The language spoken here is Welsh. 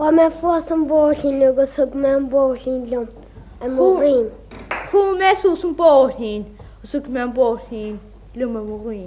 Wa me fós an bólín agus thug me an bólín lom an Who- mórín. Chw mes os yn bod hi'n, os yw'n mewn bod hi'n, lwm yn mwyn.